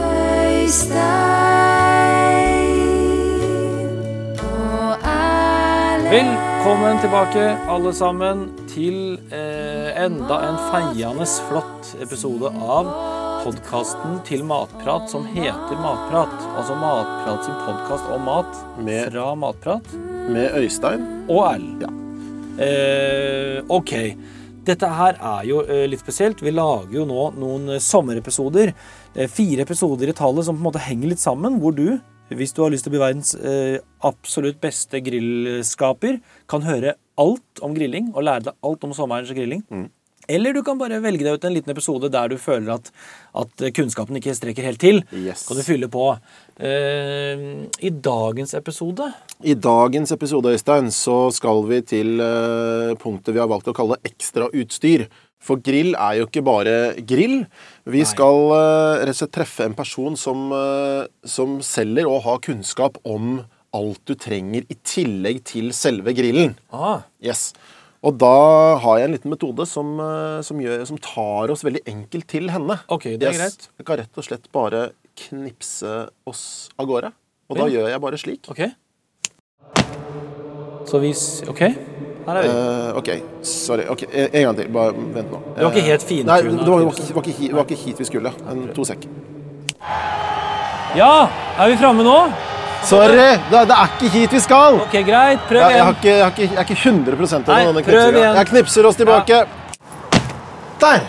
i stein og alle Velkommen tilbake, alle sammen, til eh, enda en feiende flott episode av podkasten til Matprat som heter Matprat. Altså Matprat sin podkast om mat Med- fra Matprat Med Øystein. og Erlend. Eh, ok. Dette her er jo eh, litt spesielt. Vi lager jo nå noen eh, sommerepisoder. Eh, fire episoder i tallet som på en måte henger litt sammen, hvor du, hvis du har lyst til å bli verdens eh, absolutt beste grillskaper, kan høre alt om grilling og lære deg alt om sommerens grilling. Eller du kan bare velge deg ut en liten episode der du føler at, at eh, kunnskapen ikke strekker helt til. Yes. Kan du fylle på. Eh, I dagens episode I dagens episode Øystein, så skal vi til eh, punktet vi har valgt å kalle ekstrautstyr. For grill er jo ikke bare grill. Vi skal eh, rett og slett treffe en person som, eh, som selger og har kunnskap om alt du trenger i tillegg til selve grillen. ah, Yes. Og da har jeg en liten metode som, eh, som, gjør, som tar oss veldig enkelt til henne. Ok, det er greit. Jeg kan rett og slett bare knipse oss av gårde. Og da Ja. gjør jeg bare slik. Ok. Så vi s- Ok, her er vi. Eh, ok, sorry. Ok, En en gang til. Bare vent nå. Eh, Det var ikke helt fintuna Nei, det var, det var, tips. ikke, det var, ikke, hit, det var ikke hit vi skulle. En, to sek. Ja! Er vi framme nå? Sorry! Det, det er ikke hit vi skal! Ok, greit. Prøv Jeg, jeg, har igjen. ikke, jeg, har ikke, jeg er ikke 100 Nei, av prøv denne knipsinga. igjen. Jeg knipser oss tilbake. Der!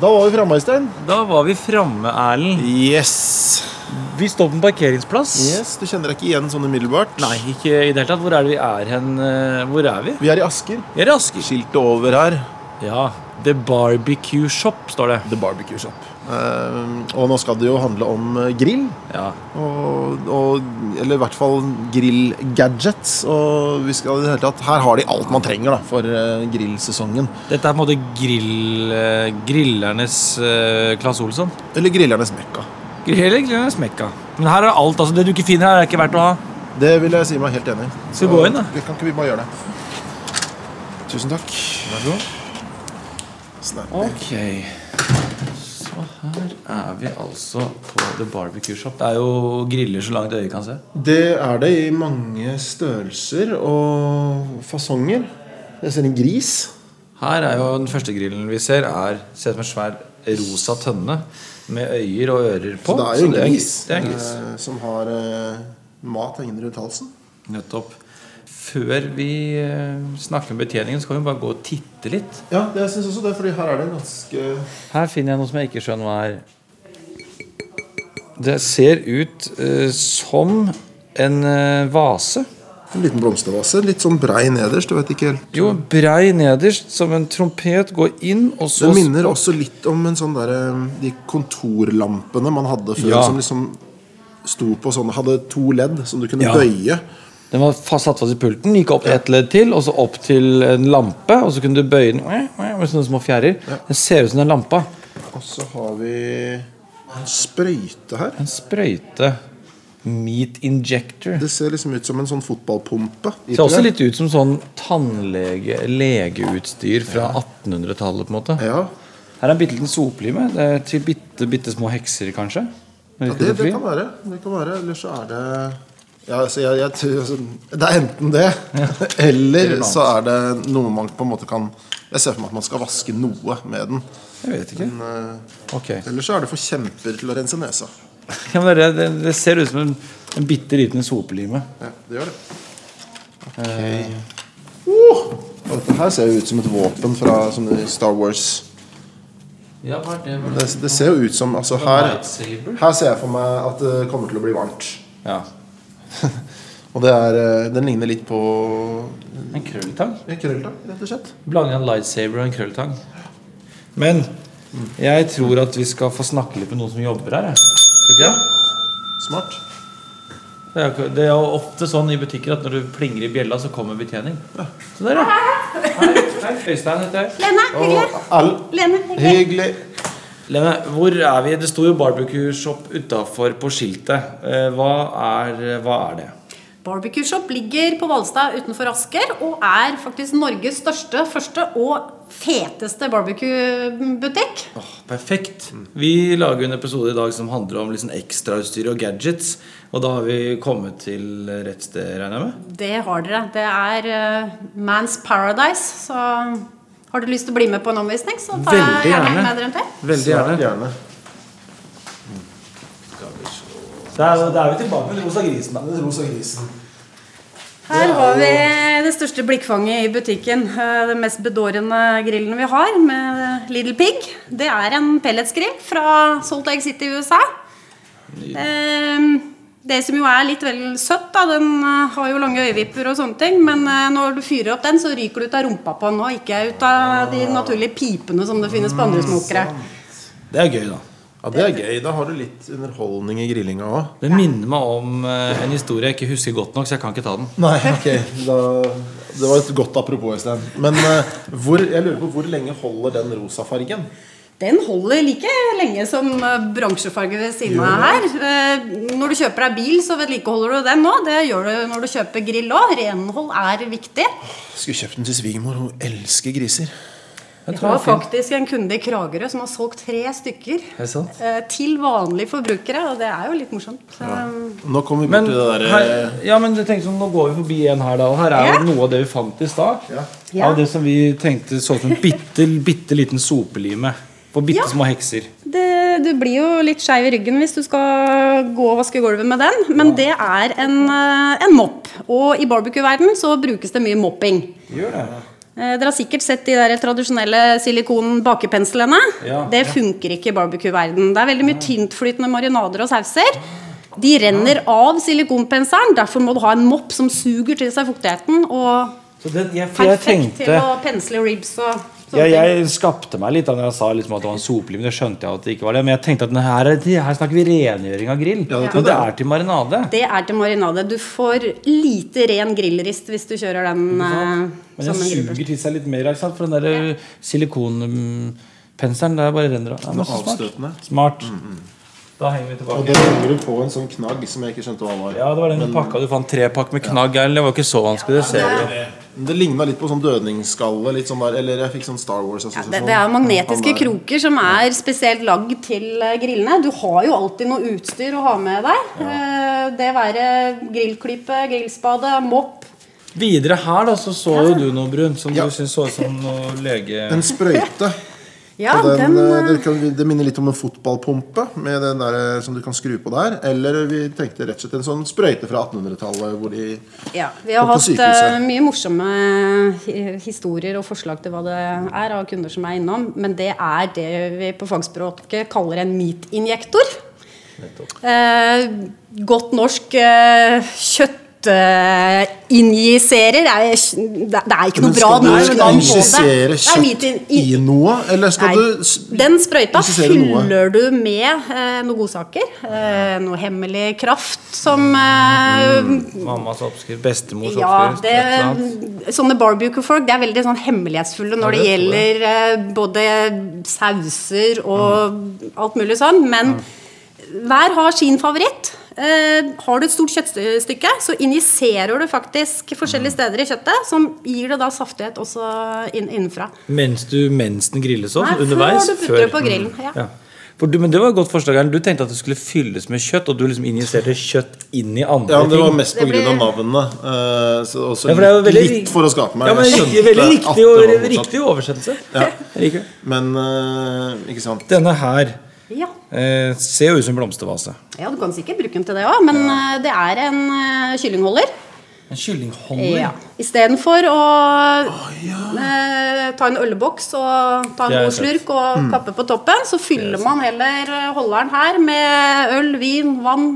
Da var vi framme, Øystein. Da var vi framme, Erlend. Yes. Vi står på en parkeringsplass. Yes, Du kjenner deg ikke igjen sånn umiddelbart? Nei, ikke i det hele tatt. Hvor er det vi er hen? eh, Hvor er vi? Vi er i Asker. Vi er i Asker. Skiltet over her. Ja. The Barbecue Shop står det. The Barbecue Shop. Eh, og nå skal det jo handle om eh, grill. Ja. Og, og, eller i hvert fall grillgadgets. Og vi skal i det hele tatt Her har de alt man trenger da, for eh, grillsesongen. Dette er på en måte grill, eh, grillernes eh, Claes Olsson. Eller grillernes mekka. Eller grillernes Mekka. Men her er alt. altså Det du ikke finner her, er ikke verdt å ha. Det vil jeg si meg helt enig i. Skal vi gå inn, da? Vi kan ikke vi bare gjøre det? Tusen takk. Vær så god. Snap. Ok. Så her er vi altså på The Barbecue Shop. Det er jo griller så langt øyet kan se. Det er det i mange størrelser og fasonger. Jeg ser en gris. Her er jo den første grillen vi ser, er ser ut som en svær rosa tønne med øyer og ører på. Så det er jo en en gris, Det er en gris. eh, som har eh, mat hengende rundt halsen. Nettopp. Før vi eh, snakker med betjeningen, så kan vi bare gå og titte litt. Ja, det syns også det, fordi her er det en ganske Her finner jeg noe som jeg ikke skjønner hva er. Det ser ut eh, som en eh, vase. En liten blomstervase. Litt sånn brei nederst. Du vet ikke helt. Jo, brei nederst, som en trompet, går inn, og så Det minner også litt om en sånn der, eh, de kontorlampene man hadde før. Ja. Som liksom sto på sånn Hadde to ledd som du kunne Ja. bøye. Den var fast, satt fast i pulten, gikk opp ett ledd til, og så opp til en lampe, og så kunne du bøye den med sånne små fjærer. Den ser ut som den lampa. Og så har vi en sprøyte her. En sprøyte. Meat injector. Det ser liksom ut som en sånn fotballpumpe. Det ser også litt ut som sånn tannlege, legeutstyr fra 1800-tallet, på en måte. Ja, Her er en bitte liten soplime. Det er til bitte, bitte små hekser, kanskje. Med ja litt det, det pedofili. kan være. Det kan være. Eller så er det ja, altså, jeg, jeg, tror- altså, Det er enten det, eller så er det noe man på en måte kan Jeg ser for meg at man skal vaske noe med den. Jeg vet ikke. Men, Ok. eh, Eller så er det for kjemper til å rense nesa. Ja, men det, det, det ser ut som en, en bitte liten sopelime. Ja, det gjør det. Eh, Ok. Oh! Og Dette her ser jo ut som et våpen fra som i Star Wars. Ja, hva er det? Det, det ser jo ut som Altså, her, her ser jeg for meg at det kommer til å bli varmt. Ja. Og det er, eh, den ligner litt på En krølltang. en krølltang, rett og slett. Blanding av en lightsaber og en krølltang. Mm. Men jeg tror at vi skal få snakke litt med noen som jobber her. jeg. Tror du ikke det? Smart. Det er, jo ikke- det er jo ofte sånn i butikker at når du plinger i bjella, så kommer betjening. Så der, ja. Hei, Øystein heter jeg. Lene, hyggelig. Og all Lene, hyggelig. hyggelig. Lene, hvor er vi? Det sto jo barbecue shop utafor på skiltet. Eh, Hva er, hva er det? Barbecue Shop ligger på Hvalstad utenfor Asker og er faktisk Norges største, første og feteste barbecue-butikk. Perfekt. Mm. Vi lager en episode i dag som handler om liksom ekstrautstyr og gadgets. Og da har vi kommet til rett sted, regner jeg med? Det har dere. Det er eh, Man's Paradise. Så har du lyst til å bli med på en omvisning, så tar jeg Veldig gjerne gjerne. med dere en til. Veldig gjerne. Gjerne. Da er, da er vi tilbake med Rosa grisen, da. Rosa grisen. Her har vi det største blikkfanget i butikken. Eh, Den mest bedårende grillen vi har, med Little Pig. Det er en pelletsgrill fra Salt Lake City i USA. Eh, Det som jo er litt vel søtt, da, den eh, har jo lange øyevipper og sånne ting, men eh, når du fyrer opp den, så ryker det ut av rumpa på den, og ikke ut av de naturlige pipene som det finnes på andre smokere. Det er gøy, da. Ja, det er gøy. Da har du litt underholdning i grillinga òg. Det minner meg om eh, en historie jeg ikke husker godt nok, så jeg kan ikke ta den. Nei, ok. Da, det var et godt apropos, Øystein. Men eh, hvor, jeg lurer på hvor lenge holder den rosa fargen? Den holder like lenge som eh, bransjefarge ved siden av her. Eh, Når du kjøper deg bil, så vedlikeholder du den nå. Det gjør du når du kjøper grill òg. Renhold er viktig. Skulle kjøpt den til svigermor. Hun elsker griser. Vi har faktisk en kunde i Kragerø som har solgt tre stykker Er det sant? eh, til vanlige forbrukere, og det er jo litt morsomt. Så, eh, Nå kommer vi Men, bort til det eh, her, derre ja, men jeg tenkte sånn, nå går vi forbi en her, da. Og her er jo Ja. noe av det vi fant i stad. Ja. Av det som vi tenkte så ut som en bitte, bitte liten sopelime. På bitte små hekser. Det, du blir jo litt skeiv i ryggen hvis du skal gå og vaske gulvet med den, men det er en, eh, en mopp. Og i barbecue-verdenen så brukes det mye mopping. Gjør det. Eh, Dere har sikkert sett de der tradisjonelle silikon-bakepenslene. Ja, Ah. det funker ikke i barbecue-verden. Det er veldig mye tyntflytende marinader og sauser. De renner Ah. av silikonpenselen, derfor må du ha en mopp som suger til seg fuktigheten. Og Så den, jeg, for jeg perfekt tenkte til å pensle ribs og sånne Ja, ting. jeg skapte meg litt da når jeg sa liksom at det var en sopeliv. Det skjønte jeg at det ikke var det. Men jeg tenkte at den her, er- her snakker vi rengjøring av grill. Ja, det Men trodde det jeg. er til marinade. Det er til marinade. Du får lite ren grillrist hvis du kjører den eh, Men den som en suger grillpølse. til seg litt mer, ikke sant? For den der eh, silikonpenselen der bare renner av. Ja, men så avstøtende. Mm, smart. smart. Da henger vi Og tilbake. det henger du på en sånn knagg som jeg ikke skjønte hva var. Ja, det var den pakka du fant. Trepakk med knagg, Erlend. Det var ikke så vanskelig. Det ser vi. Det ligna litt på sånn dødningsskalle. Litt sånn der, eller jeg fikk sånn Star Wars-assosiasjon. Det, det er Han magnetiske der- kroker som er spesielt lagd til eh, grillene. Du har jo alltid noe utstyr å ha med deg. Eh, Det være grillklype, grillspade, mopp. Videre her da, så så jo du noe, Brun, som Ja. du syntes så ut som noe lege... En sprøyte. Ja, og den, den, eh, eh, det, kan, det minner litt om en fotballpumpe med den der, eh, som du kan skru på der. Eller vi tenkte rett og slett en sånn sprøyte fra 1800-tallet hvor de ja, vi har på hatt eh, sykehuset. mye morsomme eh, historier og forslag til hva det er av kunder som er innom, men det er det vi på fagspråket kaller en meatinjektor. Eh, godt norsk eh, kjøttinjiserer er, det, det er ikke noe bra Men norsk Skal du navn på det. injisere Det er meat in- kjøtt i noe, eller skal Nei, du s- den sprøyta insistere noe? fyller du med eh, noen godsaker. Eh, noe hemmelig kraft som eh, Mm. Mammas oppskrift, bestemors Ja, oppskrift, det, et eller annet. sånne barbecue-folk det er veldig sånn hemmelighetsfulle når Ja, det det tror jeg. gjelder eh, både sauser og Mm. alt mulig sånn, men hver har sin favoritt. Eh, har du et stort kjøttstykke, så injiserer du faktisk forskjellige Mm. steder i kjøttet, som gir det da saftighet også inn, innenfra. Mens, du, mens den grilles opp? Nei, før underveis? Mm. du putter det på grillen, ja. For du, men Det var et godt forslag. Erlend. Du tenkte at det skulle fylles med kjøtt, og du liksom injiserte kjøtt inn i andre Ja, det var ting. mest pga. Det blir- Blir... navnet. eh, så også Ja, for det er jo veldig- litt for å skape meg. Ja, men Jeg riktig, skjønte Veldig at riktig, det og, var motsatt. riktig oversettelse. Ja. Jeg liker det. Men eh, ikke sant. Denne her Ja. eh, ser jo ut som en blomstervase. Ja, du kan sikkert bruke den til det òg, men eh, det er en eh, kyllingholder. En kyllingholder. Ja. Istedenfor å eh, ta en ølboks og ta Det en er Mm. god sant. slurk og kappe på toppen, så fyller man heller eh, holderen her med øl, vin, vann.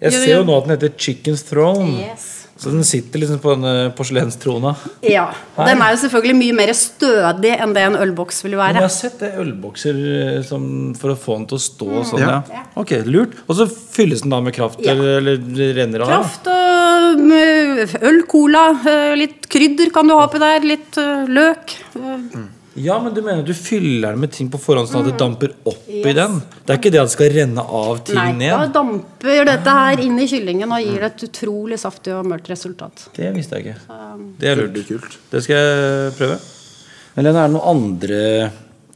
Jeg ser jo nå at den heter Chicken's Throne. Yes. Så den sitter liksom på denne porselenstrona. Ja. Her. Den er jo selvfølgelig mye mer stødig enn det en ølboks vil Men jeg være. har sett det ølbokser eh, som, for å få den til å stå og sånn. Ja. Ja. Ok, lurt. Og så fylles den da med kraft, Mm. Ja. eller, eller det renner av? da. Kraft og mm, øl, cola, eh, litt krydder kan du ha oppi der, litt eh, løk. eh, Ja, men du mener du fyller den med ting på forhånd sånn Mm. at det damper opp i den? Det er ikke det at det skal renne av ting Nei, da ned? damper dette Ah. her inn i kyllingen og Mm. gir det et utrolig saftig og mørkt resultat. Det visste jeg ikke. Um. Det er lurt. Veldig kult. Det skal jeg prøve. Men Lene, er det noen andre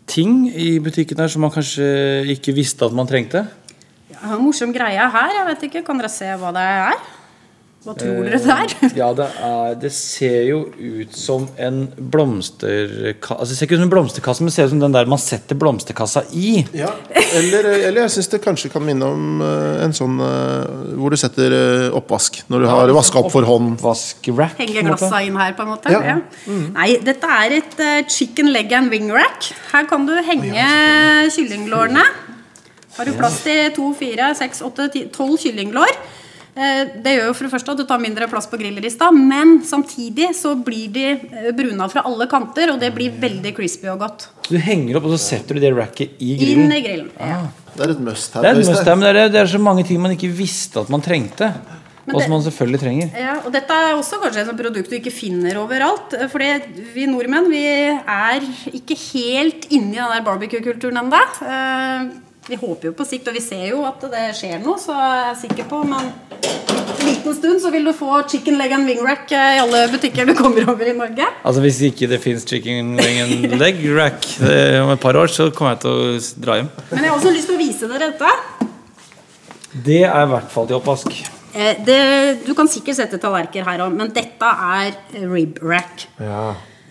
ting i butikken her som man kanskje ikke visste at man trengte? Ja, en morsom greie her, jeg vet ikke, kan dere se hva det er? Hva tror dere det er? Eh, Ja, det, er, det ser jo ut som en blomsterkasse Altså, Det ser ikke ut som en blomsterkasse, men det ser ut som den der man setter blomsterkassa i. Ja, eller, eller jeg syns det kanskje kan minne om eh, en sånn eh, hvor du setter eh, oppvask. Når du har vaska opp for hånd. Vaskrack. på Henge en måte. Mm. glassa inn her, på en måte. Ja. Ja. Nei, dette er et eh, chicken leg and wing rack. Her kan du henge kyllinglårene. Har du plass til to, fire, seks, åtte, ti, tolv kyllinglår? Eh, Det gjør jo for det første at du tar mindre plass på grillerista, men samtidig så blir de eh, bruna fra alle kanter, og det Mm. blir veldig crispy og godt. Du henger opp, og så setter du det racket i Inn grillen. i grillen. Ja. Det er et must her. Det er, et Øystein. must, men det, er, det er så mange ting man ikke visste at man trengte. Men Og det- som man selvfølgelig trenger. Ja, og dette er også kanskje et sånt produkt du ikke finner overalt. eh, Fordi vi nordmenn vi er ikke helt inni den der barbecue-kulturen ennå. Vi håper jo på sikt, og vi ser jo at det skjer noe, så jeg er sikker på Men en liten stund så vil du få chicken leg and wing rack eh, i alle butikker du kommer over i Norge. Altså Hvis ikke det fins chicken wing and leg rack det, om et par år, så kommer jeg til å s- dra hjem. Men jeg har også lyst til å vise dere dette. Det er i hvert fall til oppvask. Eh, Det, du kan sikkert sette tallerkener her òg, men dette er rib rack.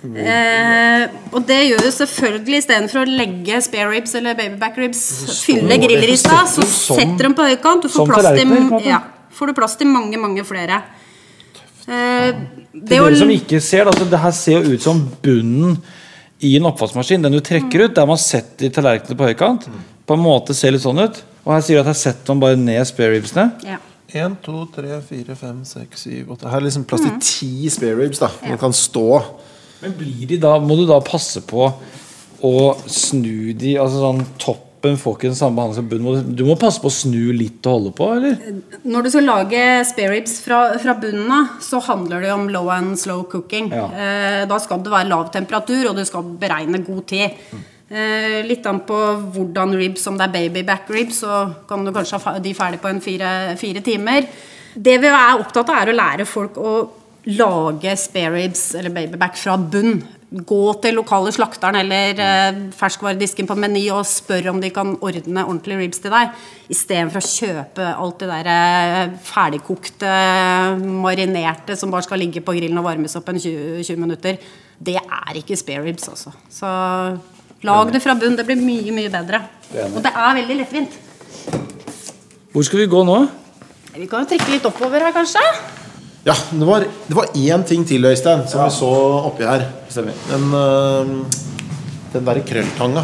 Eh, og det gjør jo selvfølgelig istedenfor å legge spare ribs eller babyback ribs, fylle liksom grillrista, så sånn setter de på høykant. Du som får plass til, tallerkener, sånn på en måte. ja, får du plass til mange, mange flere. Eh, det Til å dere som ikke ser det, altså, det her ser jo ut som bunnen i en oppvaskmaskin. Den du Mm. trekker ut, der man setter tallerkenene på høykant. På en måte ser litt sånn ut. Og her sier du at her setter man bare ned spare ribsene. ja. 1, 2, 3, 4, 5, 6, 7, 8 Her er liksom plass Mm. til ti spare ribs. da Man kan stå. Men blir de da, må du da passe på å snu de altså sånn Toppen får ikke den samme behandling som bunnen. Må du- Du må passe på å snu litt og holde på, eller? Når du skal lage spare ribs fra, fra bunnen av, så handler det om low and slow cooking. Ja. Eh, da skal det være lav temperatur, og du skal beregne god tid. Eh, litt an på hvordan ribs, om det er babyback ribs, så kan du kanskje ha fe- de ferdig på en fire, fire timer. Det vi er opptatt av, er å lære folk å lage spare ribs eller babyback fra bunn. Gå til lokale slakteren eller eh, ferskvaredisken på Meny og spør om de kan ordne ordentlige ribs til deg, istedenfor å kjøpe alt det der eh, ferdigkokte, marinerte som bare skal ligge på grillen og varmes opp en 20, 20 minutter. Det er ikke spare ribs, altså. Så lag det fra bunn. Det blir mye, mye bedre. Og det er veldig lettvint. Hvor skal vi gå nå? Vi kan jo trekke litt oppover her, kanskje. Ja, det var, det var én ting til, Øystein, som vi så oppi her. Stemmer. Den, øh, den derre krølltanga.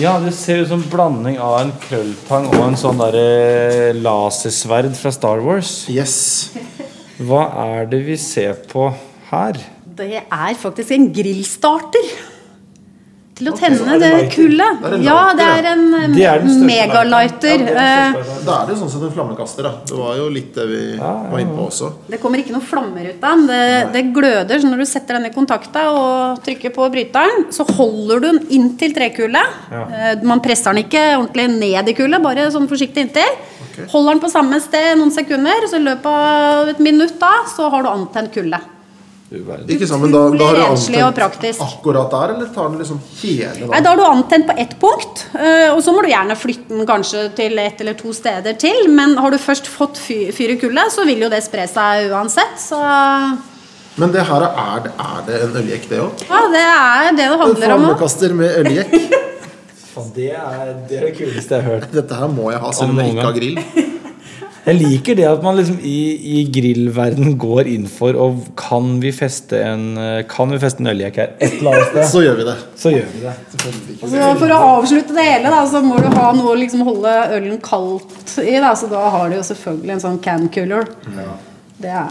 Ja, det ser ut som en blanding av en krølltang og en sånn derre lasersverd fra Star Wars. Yes. Hva er det vi ser på her? Det er faktisk en grillstarter. Til å tenne det kullet. Det er en Ja, lighter, det er en Det er den største megalighter. Eh, Da er det jo sånn som en flammekaster. da Det var jo litt det vi var inne på også. Eh, Det kommer ikke noen flammer ut av den. Det, det gløder. Så når du setter den i kontakta og trykker på bryteren, så holder du den inntil trekullet. Eh, Man presser den ikke ordentlig ned i kullet, bare sånn forsiktig inntil. Ok. Holder den på samme sted noen sekunder, så i løpet av et minutt da, så har du antent kullet. Ikke sant, men da, da har du Utrolig renslig og antent praktisk. akkurat der, eller tar den liksom hele Nei, veien? Da har du antent på ett punkt, eh, og så må du gjerne flytte den kanskje til ett eller to steder til. Men har du først fått fy- fyr i kullet, så vil jo det spre seg uansett. Så ja, Men det her er, er det en øljekk, det òg? det er det det En handler om. også. flammekaster med øljekk. Det er det kuleste jeg har hørt. Dette her må jeg ha, selv om jeg ikke har grill. Jeg liker det at man liksom i, i grillverden går inn for og kan vi feste en eh, Kan vi feste en øljekk her et eller annet sted, Så gjør vi det. så gjør vi det. Og så Eh, For å avslutte det hele, da, så må du ha noe å liksom holde ølen kaldt i. Da, så da har du jo selvfølgelig en sånn can cooler. Det er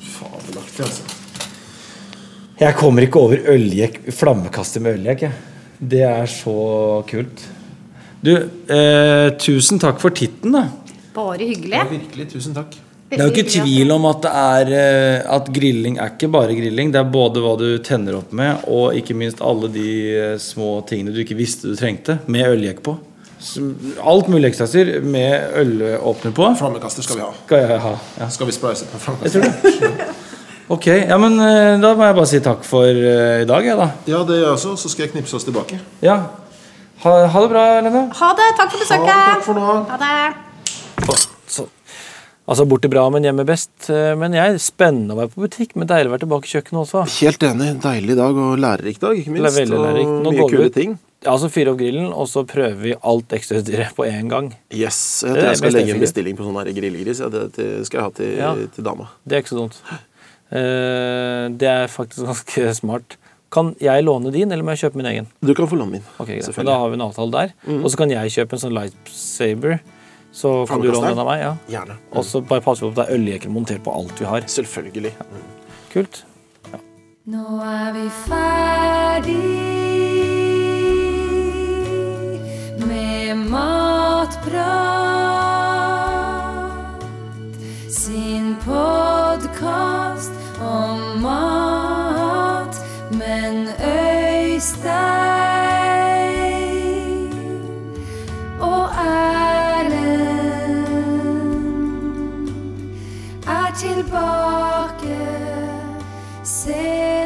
Fabelaktig, altså. Jeg kommer ikke over øljekk, flammekaster med øljekk. jeg. Det er så kult. Du, eh, tusen takk for titten, da. bare hyggelig. Virkelig, tusen takk. Det er jo ikke tvil om at det er eh, At grilling er ikke bare grilling. Det er både hva du tenner opp med, og ikke minst alle de eh, små tingene du ikke visste du trengte, med øljekk på. Som- Alt mulig ekstrastyr med ølåpner på Flammekaster skal vi ha. skal jeg ha. Ja. Skal vi spleise på Jeg flammekaster? tror det. Ok, ja, men eh, da må jeg bare si takk for eh, i dag, jeg, da. Ja, det gjør jeg også. Så skal jeg knipse oss tilbake. Ja. Ha, ha det bra, Lene. Ha det. Takk for Ha, besøket. takk for nå. Ha det. Så. Altså borte bra, men hjemme best. Eh, Men jeg Spennende å være på butikk, men deilig å være tilbake i kjøkkenet også. Helt enig. Deilig dag og lærerik dag, ikke Det er minst. veldig lærerikt. Nå Og mye går vi kule ut. ting. Ja, så fyre opp grillen, og så prøver vi alt ekstrautstyret på én gang. Yes, Jeg Det er tror jeg skal best legge en effektivt. bestilling på sånn her grillgris. Ja, det til- skal jeg ha til, Ja. til dama. Det er ikke så dumt. Eh, Det er faktisk ganske smart. Kan jeg låne din, eller må jeg kjøpe min egen? Du kan få låne min. Ok, greit. Men Da selvfølgelig. Mhm. har vi en avtale der. Og så kan jeg kjøpe en sånn lightsaber. Så kan du låne den av meg. ja. Gjerne. Og så bare passer vi på at det er øljekker montert på alt vi har. Selvfølgelig. Kult. Nå er vi ferdig med Matprat sin podkast om mat, men Øystein og Erlend er tilbake. Se